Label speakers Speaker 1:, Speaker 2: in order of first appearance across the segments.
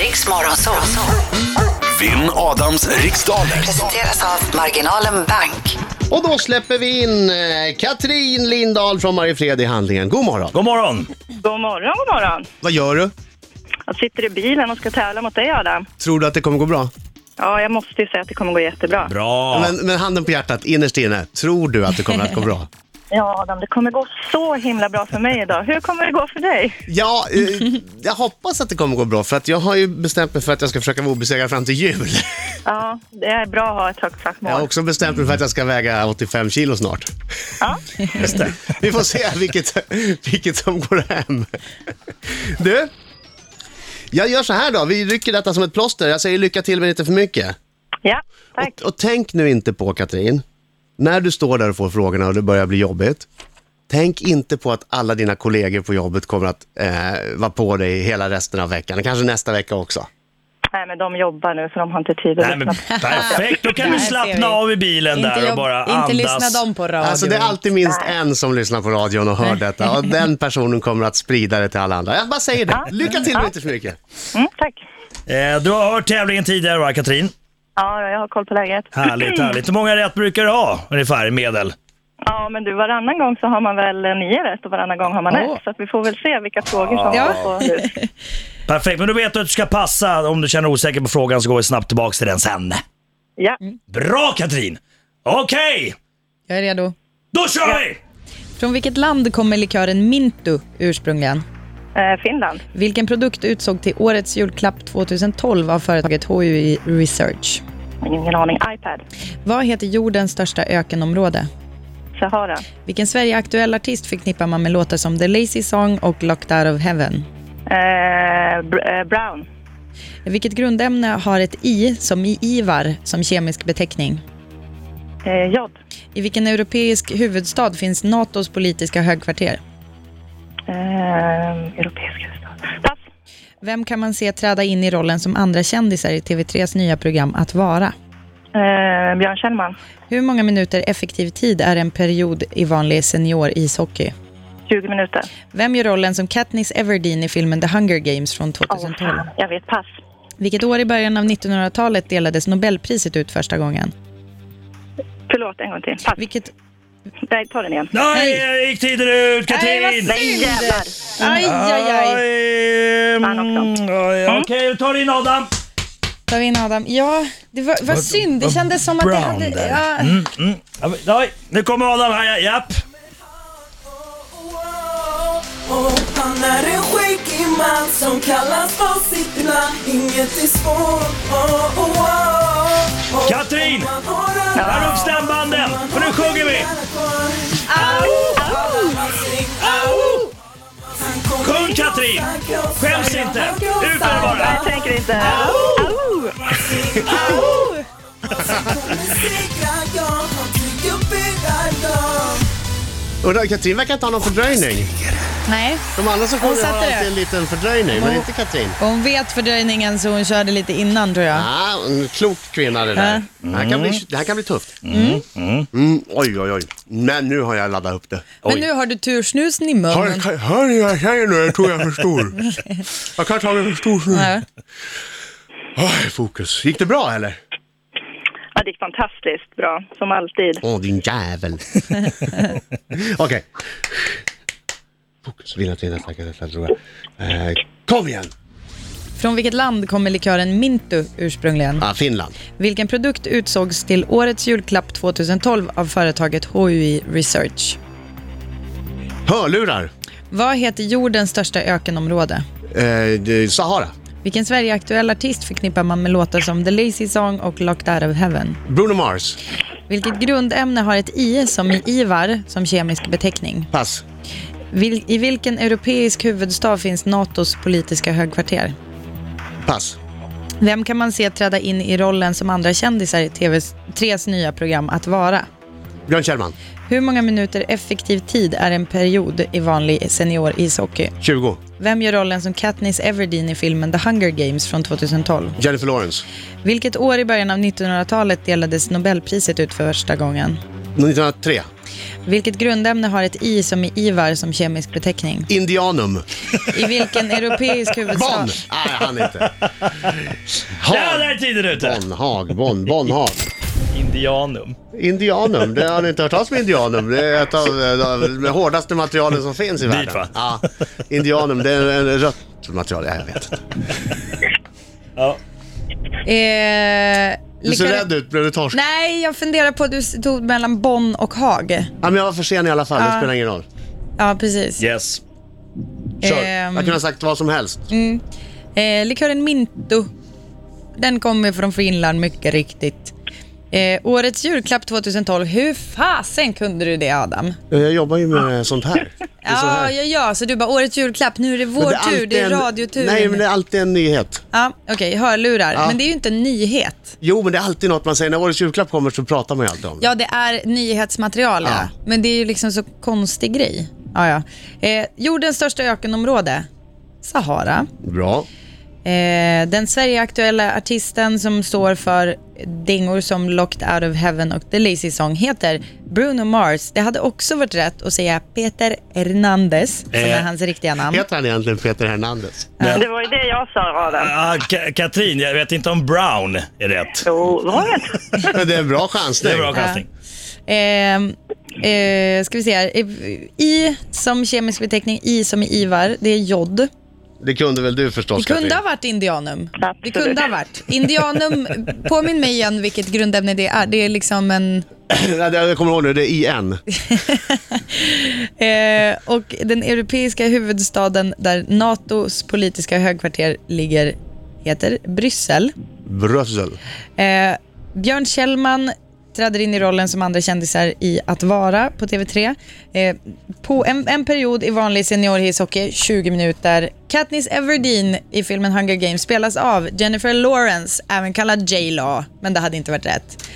Speaker 1: Riks Morgonzoo.
Speaker 2: Vinn Adams riksdaler.
Speaker 1: Presenteras av Marginalen Bank.
Speaker 3: Och då släpper vi in eh, Katrin Lindahl från Mariefred i handlingen. God morgon!
Speaker 4: God morgon!
Speaker 5: God morgon, god morgon.
Speaker 3: Vad gör du?
Speaker 5: Jag sitter i bilen och ska tävla mot dig, Adam.
Speaker 3: Tror du att det kommer gå bra?
Speaker 5: Ja, jag måste ju säga att det kommer gå jättebra.
Speaker 4: Bra!
Speaker 3: Men, men handen på hjärtat, innerst inne, tror du att det kommer att gå bra?
Speaker 5: Ja, Adam, det kommer gå så himla bra för mig idag. Hur kommer det gå för dig?
Speaker 3: Ja, eh, jag hoppas att det kommer gå bra för att jag har ju bestämt mig för att jag ska försöka vara obesegrad fram till jul.
Speaker 5: Ja, det är bra att ha ett högt satt
Speaker 3: Jag har
Speaker 5: mål.
Speaker 3: också bestämt mig för att jag ska väga 85 kilo snart.
Speaker 5: Ja.
Speaker 3: Vi får se vilket, vilket som går hem. Du, jag gör så här då. Vi rycker detta som ett plåster. Jag säger lycka till men inte för mycket.
Speaker 5: ja, tack.
Speaker 3: Och, och tänk nu inte på Katrin, när du står där och får frågorna och det börjar bli jobbigt. Tänk inte på att alla dina kollegor på jobbet kommer att eh, vara på dig hela resten av veckan, kanske nästa vecka också.
Speaker 5: Nej, men de jobbar nu så de har inte tid att
Speaker 4: Nej, men,
Speaker 5: lyssna.
Speaker 4: perfekt, då kan du
Speaker 6: Där ser vi.
Speaker 4: slappna av i bilen
Speaker 6: Inte,
Speaker 4: där och
Speaker 6: jobb-
Speaker 4: bara andas.
Speaker 6: inte lyssna dem på radion.
Speaker 3: Alltså det är alltid minst en som lyssnar på radion och hör detta och den personen kommer att sprida det till alla andra. Jag bara säger det. Lycka till men inte för mycket.
Speaker 5: Mm, tack.
Speaker 4: Eh, du har hört tävlingen tidigare va Katrin?
Speaker 5: Ja, jag har koll på läget.
Speaker 6: Mm.
Speaker 4: Härligt, härligt. Hur många rätt brukar du ha ungefär i medel?
Speaker 5: Ja, men du, varannan gång så har man väl eh, nio rätt och varannan gång har man
Speaker 6: Åh.
Speaker 5: ett. Så att vi får väl se vilka frågor som
Speaker 6: Ja.
Speaker 5: går på hus.
Speaker 4: Perfekt, men du vet att du ska passa. Om du känner osäker på frågan så går vi snabbt tillbaka till den sen.
Speaker 5: Ja,
Speaker 4: Bra Katrin! Okej,
Speaker 6: Jag är redo.
Speaker 4: då kör vi!
Speaker 6: Från vilket land kommer likören Mintu ursprungligen?
Speaker 5: eh, Finland.
Speaker 6: Vilken produkt utsåg till årets julklapp 2012 av företaget HUI Research?
Speaker 5: Ingen aning. iPad.
Speaker 6: Vad heter jordens största ökenområde?
Speaker 5: Sahara.
Speaker 6: Vilken Sverige-aktuell artist förknippar man med låtar som The Lazy Song och Locked Out of Heaven?
Speaker 5: Eh, br- eh, brown.
Speaker 6: Vilket grundämne har ett I, som i Ivar, som kemisk beteckning?
Speaker 5: Eh, jod.
Speaker 6: I vilken europeisk huvudstad finns NATOs politiska högkvarter?
Speaker 5: Eh, europeisk huvudstad. Pass.
Speaker 6: Vem kan man se träda in i rollen som andra kändisar i TV3s nya program Att vara?
Speaker 5: Eh, Björn Kjellman.
Speaker 6: Hur många minuter effektiv tid är en period i vanlig seniorishockey?
Speaker 5: 20 minuter.
Speaker 6: Vem gör rollen som Katniss Everdeen i filmen The Hunger Games från
Speaker 5: Åh,
Speaker 6: 2012?
Speaker 5: fan. jag vet. Pass.
Speaker 6: Vilket år i början av 1900-talet delades Nobelpriset ut första gången?
Speaker 5: Förlåt, en gång till. Pass.
Speaker 6: Vilket...
Speaker 5: Nej, ta den igen.
Speaker 4: Nej, gick tiden ut Katrin!
Speaker 6: Nej, vad
Speaker 5: Nej, jävlar!
Speaker 6: Aj, aj, aj.
Speaker 4: Aj,
Speaker 5: Fan också.
Speaker 4: mm, aj, Okej, vi tar in Adam.
Speaker 6: Tar vi in Adam? Ja, det var, var synd. Det kändes som att det
Speaker 4: Brown
Speaker 6: hade...
Speaker 4: där.
Speaker 6: Ja.
Speaker 4: Mm, mm. Ja, men- Oj, nu kommer Adam här, ja, japp.
Speaker 7: Han är en skäggig man som kallas på sitt namn Inget är svårt oh, oh, oh, oh.
Speaker 4: Katrin! Här upp stämbanden! Och nu sjunger vi! Sjung, Katrin! Skäms inte! Ut med det bara!
Speaker 5: Jag tänker inte.
Speaker 3: Och då, Katrin verkar inte ha någon fördröjning.
Speaker 6: Nej.
Speaker 3: De andra som
Speaker 6: Hon
Speaker 3: sjunger har
Speaker 6: satte det.
Speaker 3: alltid en liten fördröjning, men inte Katrin.
Speaker 6: Och Hon vet fördröjningen så hon körde lite innan tror jag.
Speaker 3: Ah, en klok kvinna det där. Det, här kan bli, det här kan bli tufft.
Speaker 6: Mm.
Speaker 3: Mm, oj, oj, oj. Men nu har jag laddat upp det.
Speaker 6: Men nu har du tursnusen i munnen.
Speaker 3: Hör ni vad jag säger nu? Jag tror jag är för stor. Jag kan ta mig för stor nu.
Speaker 6: Ja.
Speaker 3: Oj, fokus. Gick det bra eller?
Speaker 5: Ja, det gick fantastiskt bra, som alltid.
Speaker 3: Åh, din jävel. Okej. Fokus. Vinna till nästa nästa tror jag. Eh, kom igen!
Speaker 6: Från vilket land kommer likören Mintu ursprungligen?
Speaker 3: Ah, Finland.
Speaker 6: Vilken produkt utsågs till årets julklapp 2012 av företaget HUI Research?
Speaker 3: Hörlurar.
Speaker 6: Vad heter jordens största ökenområde?
Speaker 3: Eh, det- Sahara.
Speaker 6: Vilken Sverige-aktuell artist förknippar man med låtar som The Lazy Song och Locked Out of Heaven?
Speaker 3: Bruno Mars.
Speaker 6: Vilket grundämne har ett I, som i Ivar, som kemisk beteckning?
Speaker 3: Pass.
Speaker 6: Vil- I vilken europeisk huvudstad finns NATOs politiska högkvarter?
Speaker 3: Pass.
Speaker 6: Vem kan man se träda in i rollen som andra kändisar i TV3s nya program Att vara?
Speaker 3: Björn Kjellman.
Speaker 6: Hur många minuter effektiv tid är en period i vanlig seniorishockey?
Speaker 3: 20.
Speaker 6: Vem gör rollen som Katniss Everdeen i filmen The Hunger Games från 2012?
Speaker 3: Jennifer Lawrence.
Speaker 6: Vilket år i början av 1900-talet delades Nobelpriset ut för första gången?
Speaker 3: 1903.
Speaker 6: Vilket grundämne har ett I som i Ivar som kemisk beteckning?
Speaker 3: Indianum.
Speaker 6: I vilken europeisk huvudstad?
Speaker 3: Bonn! Nej, han inte.
Speaker 4: Ja, där är
Speaker 3: Haag.
Speaker 4: tiden ute!
Speaker 3: Bonn, Haag, Bonn, Bonn, Haag.
Speaker 4: Indianum.
Speaker 3: Indianum, det har ni inte hört talas om indianum. Det är ett av eh, de hårdaste materialen som finns i världen.
Speaker 4: va?
Speaker 3: Ja, indianum, det är en rött material. Ja, jag vet inte.
Speaker 4: Ja.
Speaker 6: Eh,
Speaker 3: Du ser
Speaker 6: lyckades-
Speaker 3: rädd ut, blev du torsk?
Speaker 6: Nej, jag funderar på att du stod mellan Bonn och Haag.
Speaker 3: Ja, men jag var för sen i alla fall, det spelar ingen roll.
Speaker 6: Ja, precis.
Speaker 4: Yes. Kör.
Speaker 6: Ehm.
Speaker 3: Jag kunde ha sagt vad som helst.
Speaker 6: Eh, likören Mintu. Den kommer från Finland, mycket riktigt. Eh, årets julklapp 2012. Hur fasen kunde du det, Adam?
Speaker 3: Jag jobbar ju med sånt här. Det är så
Speaker 6: Ja,
Speaker 3: här.
Speaker 6: ja, ja, så du bara årets julklapp, nu är det vår
Speaker 3: Men
Speaker 6: tur,
Speaker 3: alltid
Speaker 6: det är
Speaker 3: en-
Speaker 6: radiotur.
Speaker 3: Nej, men det är alltid en nyhet.
Speaker 6: Ja, Okej, hörlurar.
Speaker 3: Ja.
Speaker 6: Men det är ju inte en nyhet.
Speaker 3: Jo, men det är alltid något man säger. När årets julklapp kommer så pratar man ju alltid om det.
Speaker 6: Ja, det är nyhetsmaterial, ja.
Speaker 3: Ja.
Speaker 6: men det är ju liksom så konstig grej. Ja, ja. Eh, jordens största ökenområde, Sahara.
Speaker 3: Bra.
Speaker 6: Eh, den Sverigeaktuella artisten som står för dingor som Locked Out of Heaven och The Lazy Song heter Bruno Mars. Det hade också varit rätt att säga Peter Hernandez, som är
Speaker 4: Eh.
Speaker 6: hans riktiga namn.
Speaker 3: Heter han egentligen Peter Hernandez?
Speaker 5: Det var ju det jag sa, Adam.
Speaker 4: Ah, Ka- Katrin, jag vet inte om Brown är rätt.
Speaker 5: Jo, det var jag inte.
Speaker 3: Men det är en bra chansning.
Speaker 4: Det är bra kastning.
Speaker 6: Ehm, eh, ska vi se här. I som kemisk beteckning, I som i Ivar, det är jod.
Speaker 3: Det kunde väl du förstås,
Speaker 6: Det kunde ha
Speaker 3: Katrin?
Speaker 6: varit indianum. Det
Speaker 5: Absolut.
Speaker 6: kunde ha varit. Indianum, påminn mig igen vilket grundämne det är. Det är liksom en...
Speaker 3: Nej, det- Jag kommer ihåg nu, det är IN.
Speaker 6: Eh, och den europeiska huvudstaden där NATOs politiska högkvarter ligger heter Bryssel.
Speaker 3: Brössel.
Speaker 6: Eh, Björn Kjellman träder in i rollen som andra kändisar i Att vara på TV3. Eh, på en, en period i vanlig seniorhishockey, 20 minuter. Katniss Everdeen i filmen Hunger Games spelas av Jennifer Lawrence, även kallad J-Law, men det hade inte varit rätt.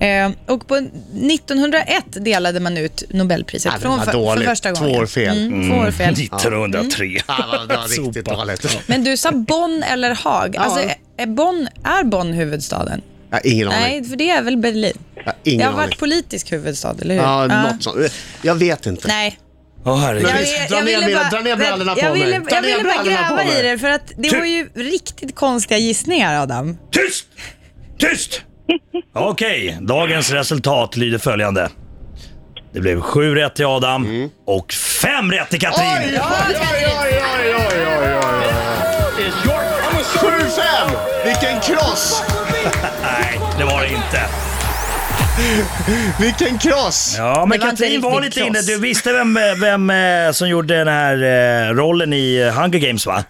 Speaker 6: Eh, och på 1901 delade man ut Nobelpriset
Speaker 3: Ja, det
Speaker 6: från
Speaker 3: var
Speaker 6: för, för
Speaker 3: dåligt.
Speaker 6: första gången.
Speaker 3: Två år fel.
Speaker 6: Mm, två år fel.
Speaker 4: 1903.
Speaker 6: Mm.
Speaker 3: Ja, vad- det var riktigt
Speaker 4: Sopa.
Speaker 3: dåligt.
Speaker 6: Men du sa Bonn eller Haag. Alltså, är- är, Bonn, är Bonn huvudstaden?
Speaker 3: Jag har ingen aning.
Speaker 6: Nej, för det är väl Berlin?
Speaker 3: Jag har ingen
Speaker 6: det har
Speaker 3: aning.
Speaker 6: varit politisk huvudstad, eller hur?
Speaker 3: Ja, något sånt. Jag vet inte.
Speaker 6: Nej.
Speaker 4: Åh herregud.
Speaker 3: Jag- Precis. Dra ner mina- dra ner brallorna på
Speaker 6: jag ville,
Speaker 3: mig. Dra
Speaker 6: jag
Speaker 3: ner
Speaker 6: ville bara
Speaker 3: brallorna på
Speaker 6: gräva
Speaker 3: mig.
Speaker 6: i det, för att det
Speaker 4: Ty-
Speaker 6: var ju riktigt konstiga gissningar, Adam.
Speaker 4: Tyst! Tyst! Okej, dagens resultat lyder följande. Det blev sju rätt till Adam
Speaker 6: Mm.
Speaker 4: och fem rätt till Katrin.
Speaker 3: oj, oj, oj, oj, oj, oj. 7-5! Vilken kross!
Speaker 4: Nej, det var det inte.
Speaker 3: Vilken kross!
Speaker 4: Ja, men
Speaker 6: Det var inte
Speaker 4: Katrin var
Speaker 6: riktigt
Speaker 4: lite inne.
Speaker 6: kross.
Speaker 4: Du visste vem, eh, vem eh, som gjorde den här eh, rollen i eh, Hunger Games, va?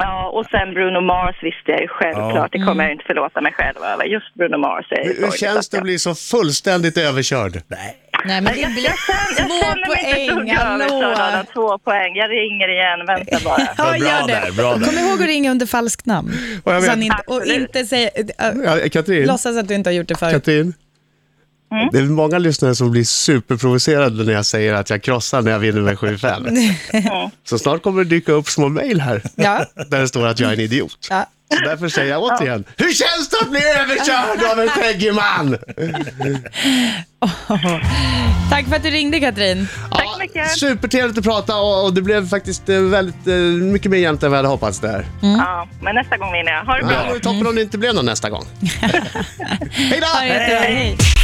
Speaker 5: Ja, och sen Bruno Mars visste jag ju självklart. Det
Speaker 6: Mm.
Speaker 5: kommer jag ju inte förlåta mig själv över. Just Bruno Mars är ju
Speaker 3: Hur, hur
Speaker 5: sorgligt
Speaker 3: känns
Speaker 5: att
Speaker 3: det
Speaker 5: jag-
Speaker 3: att bli så fullständigt överkörd?
Speaker 4: Nej.
Speaker 6: Nej, men det blir
Speaker 5: Jag
Speaker 6: små
Speaker 5: känner mig inte ett
Speaker 6: poäng.
Speaker 5: dugg överkörd Adam.
Speaker 6: Hallå! Mm.
Speaker 5: Två poäng. Jag ringer igen. Vänta bara.
Speaker 6: Ja,
Speaker 4: Bra
Speaker 6: gör
Speaker 4: där,
Speaker 6: det.
Speaker 4: bra där.
Speaker 6: Kom ihåg att ringa under falskt namn.
Speaker 3: Och jag
Speaker 6: Så
Speaker 3: vet-
Speaker 6: han inte, och inte säga... äh,
Speaker 3: Ja, Katrin?
Speaker 6: låtsas att du inte har gjort det förut.
Speaker 3: Katrin? Det är många lyssnare som blir superprovocerade när jag säger att jag krossar när jag vinner med 7-5. Så snart kommer det dyka upp små mejl här
Speaker 6: Ja.
Speaker 3: där det står att jag är en idiot.
Speaker 6: Ja.
Speaker 3: Så därför säger jag återigen, hur känns det att bli överkörd av en skäggig man?
Speaker 6: Tack för att du ringde, Katrin.
Speaker 3: Tack
Speaker 5: så mycket.
Speaker 3: Supertrevligt att prata och, och det blev faktiskt eh, väldigt eh, mycket mer jämnt än vad jag hade hoppats där.
Speaker 5: Ja, men nästa gång vinner jag. Ha det
Speaker 3: Ja,
Speaker 5: bra.
Speaker 3: det vore toppen om det inte blev någon nästa gång. Hej då!
Speaker 6: Ha det jättebra. Hej.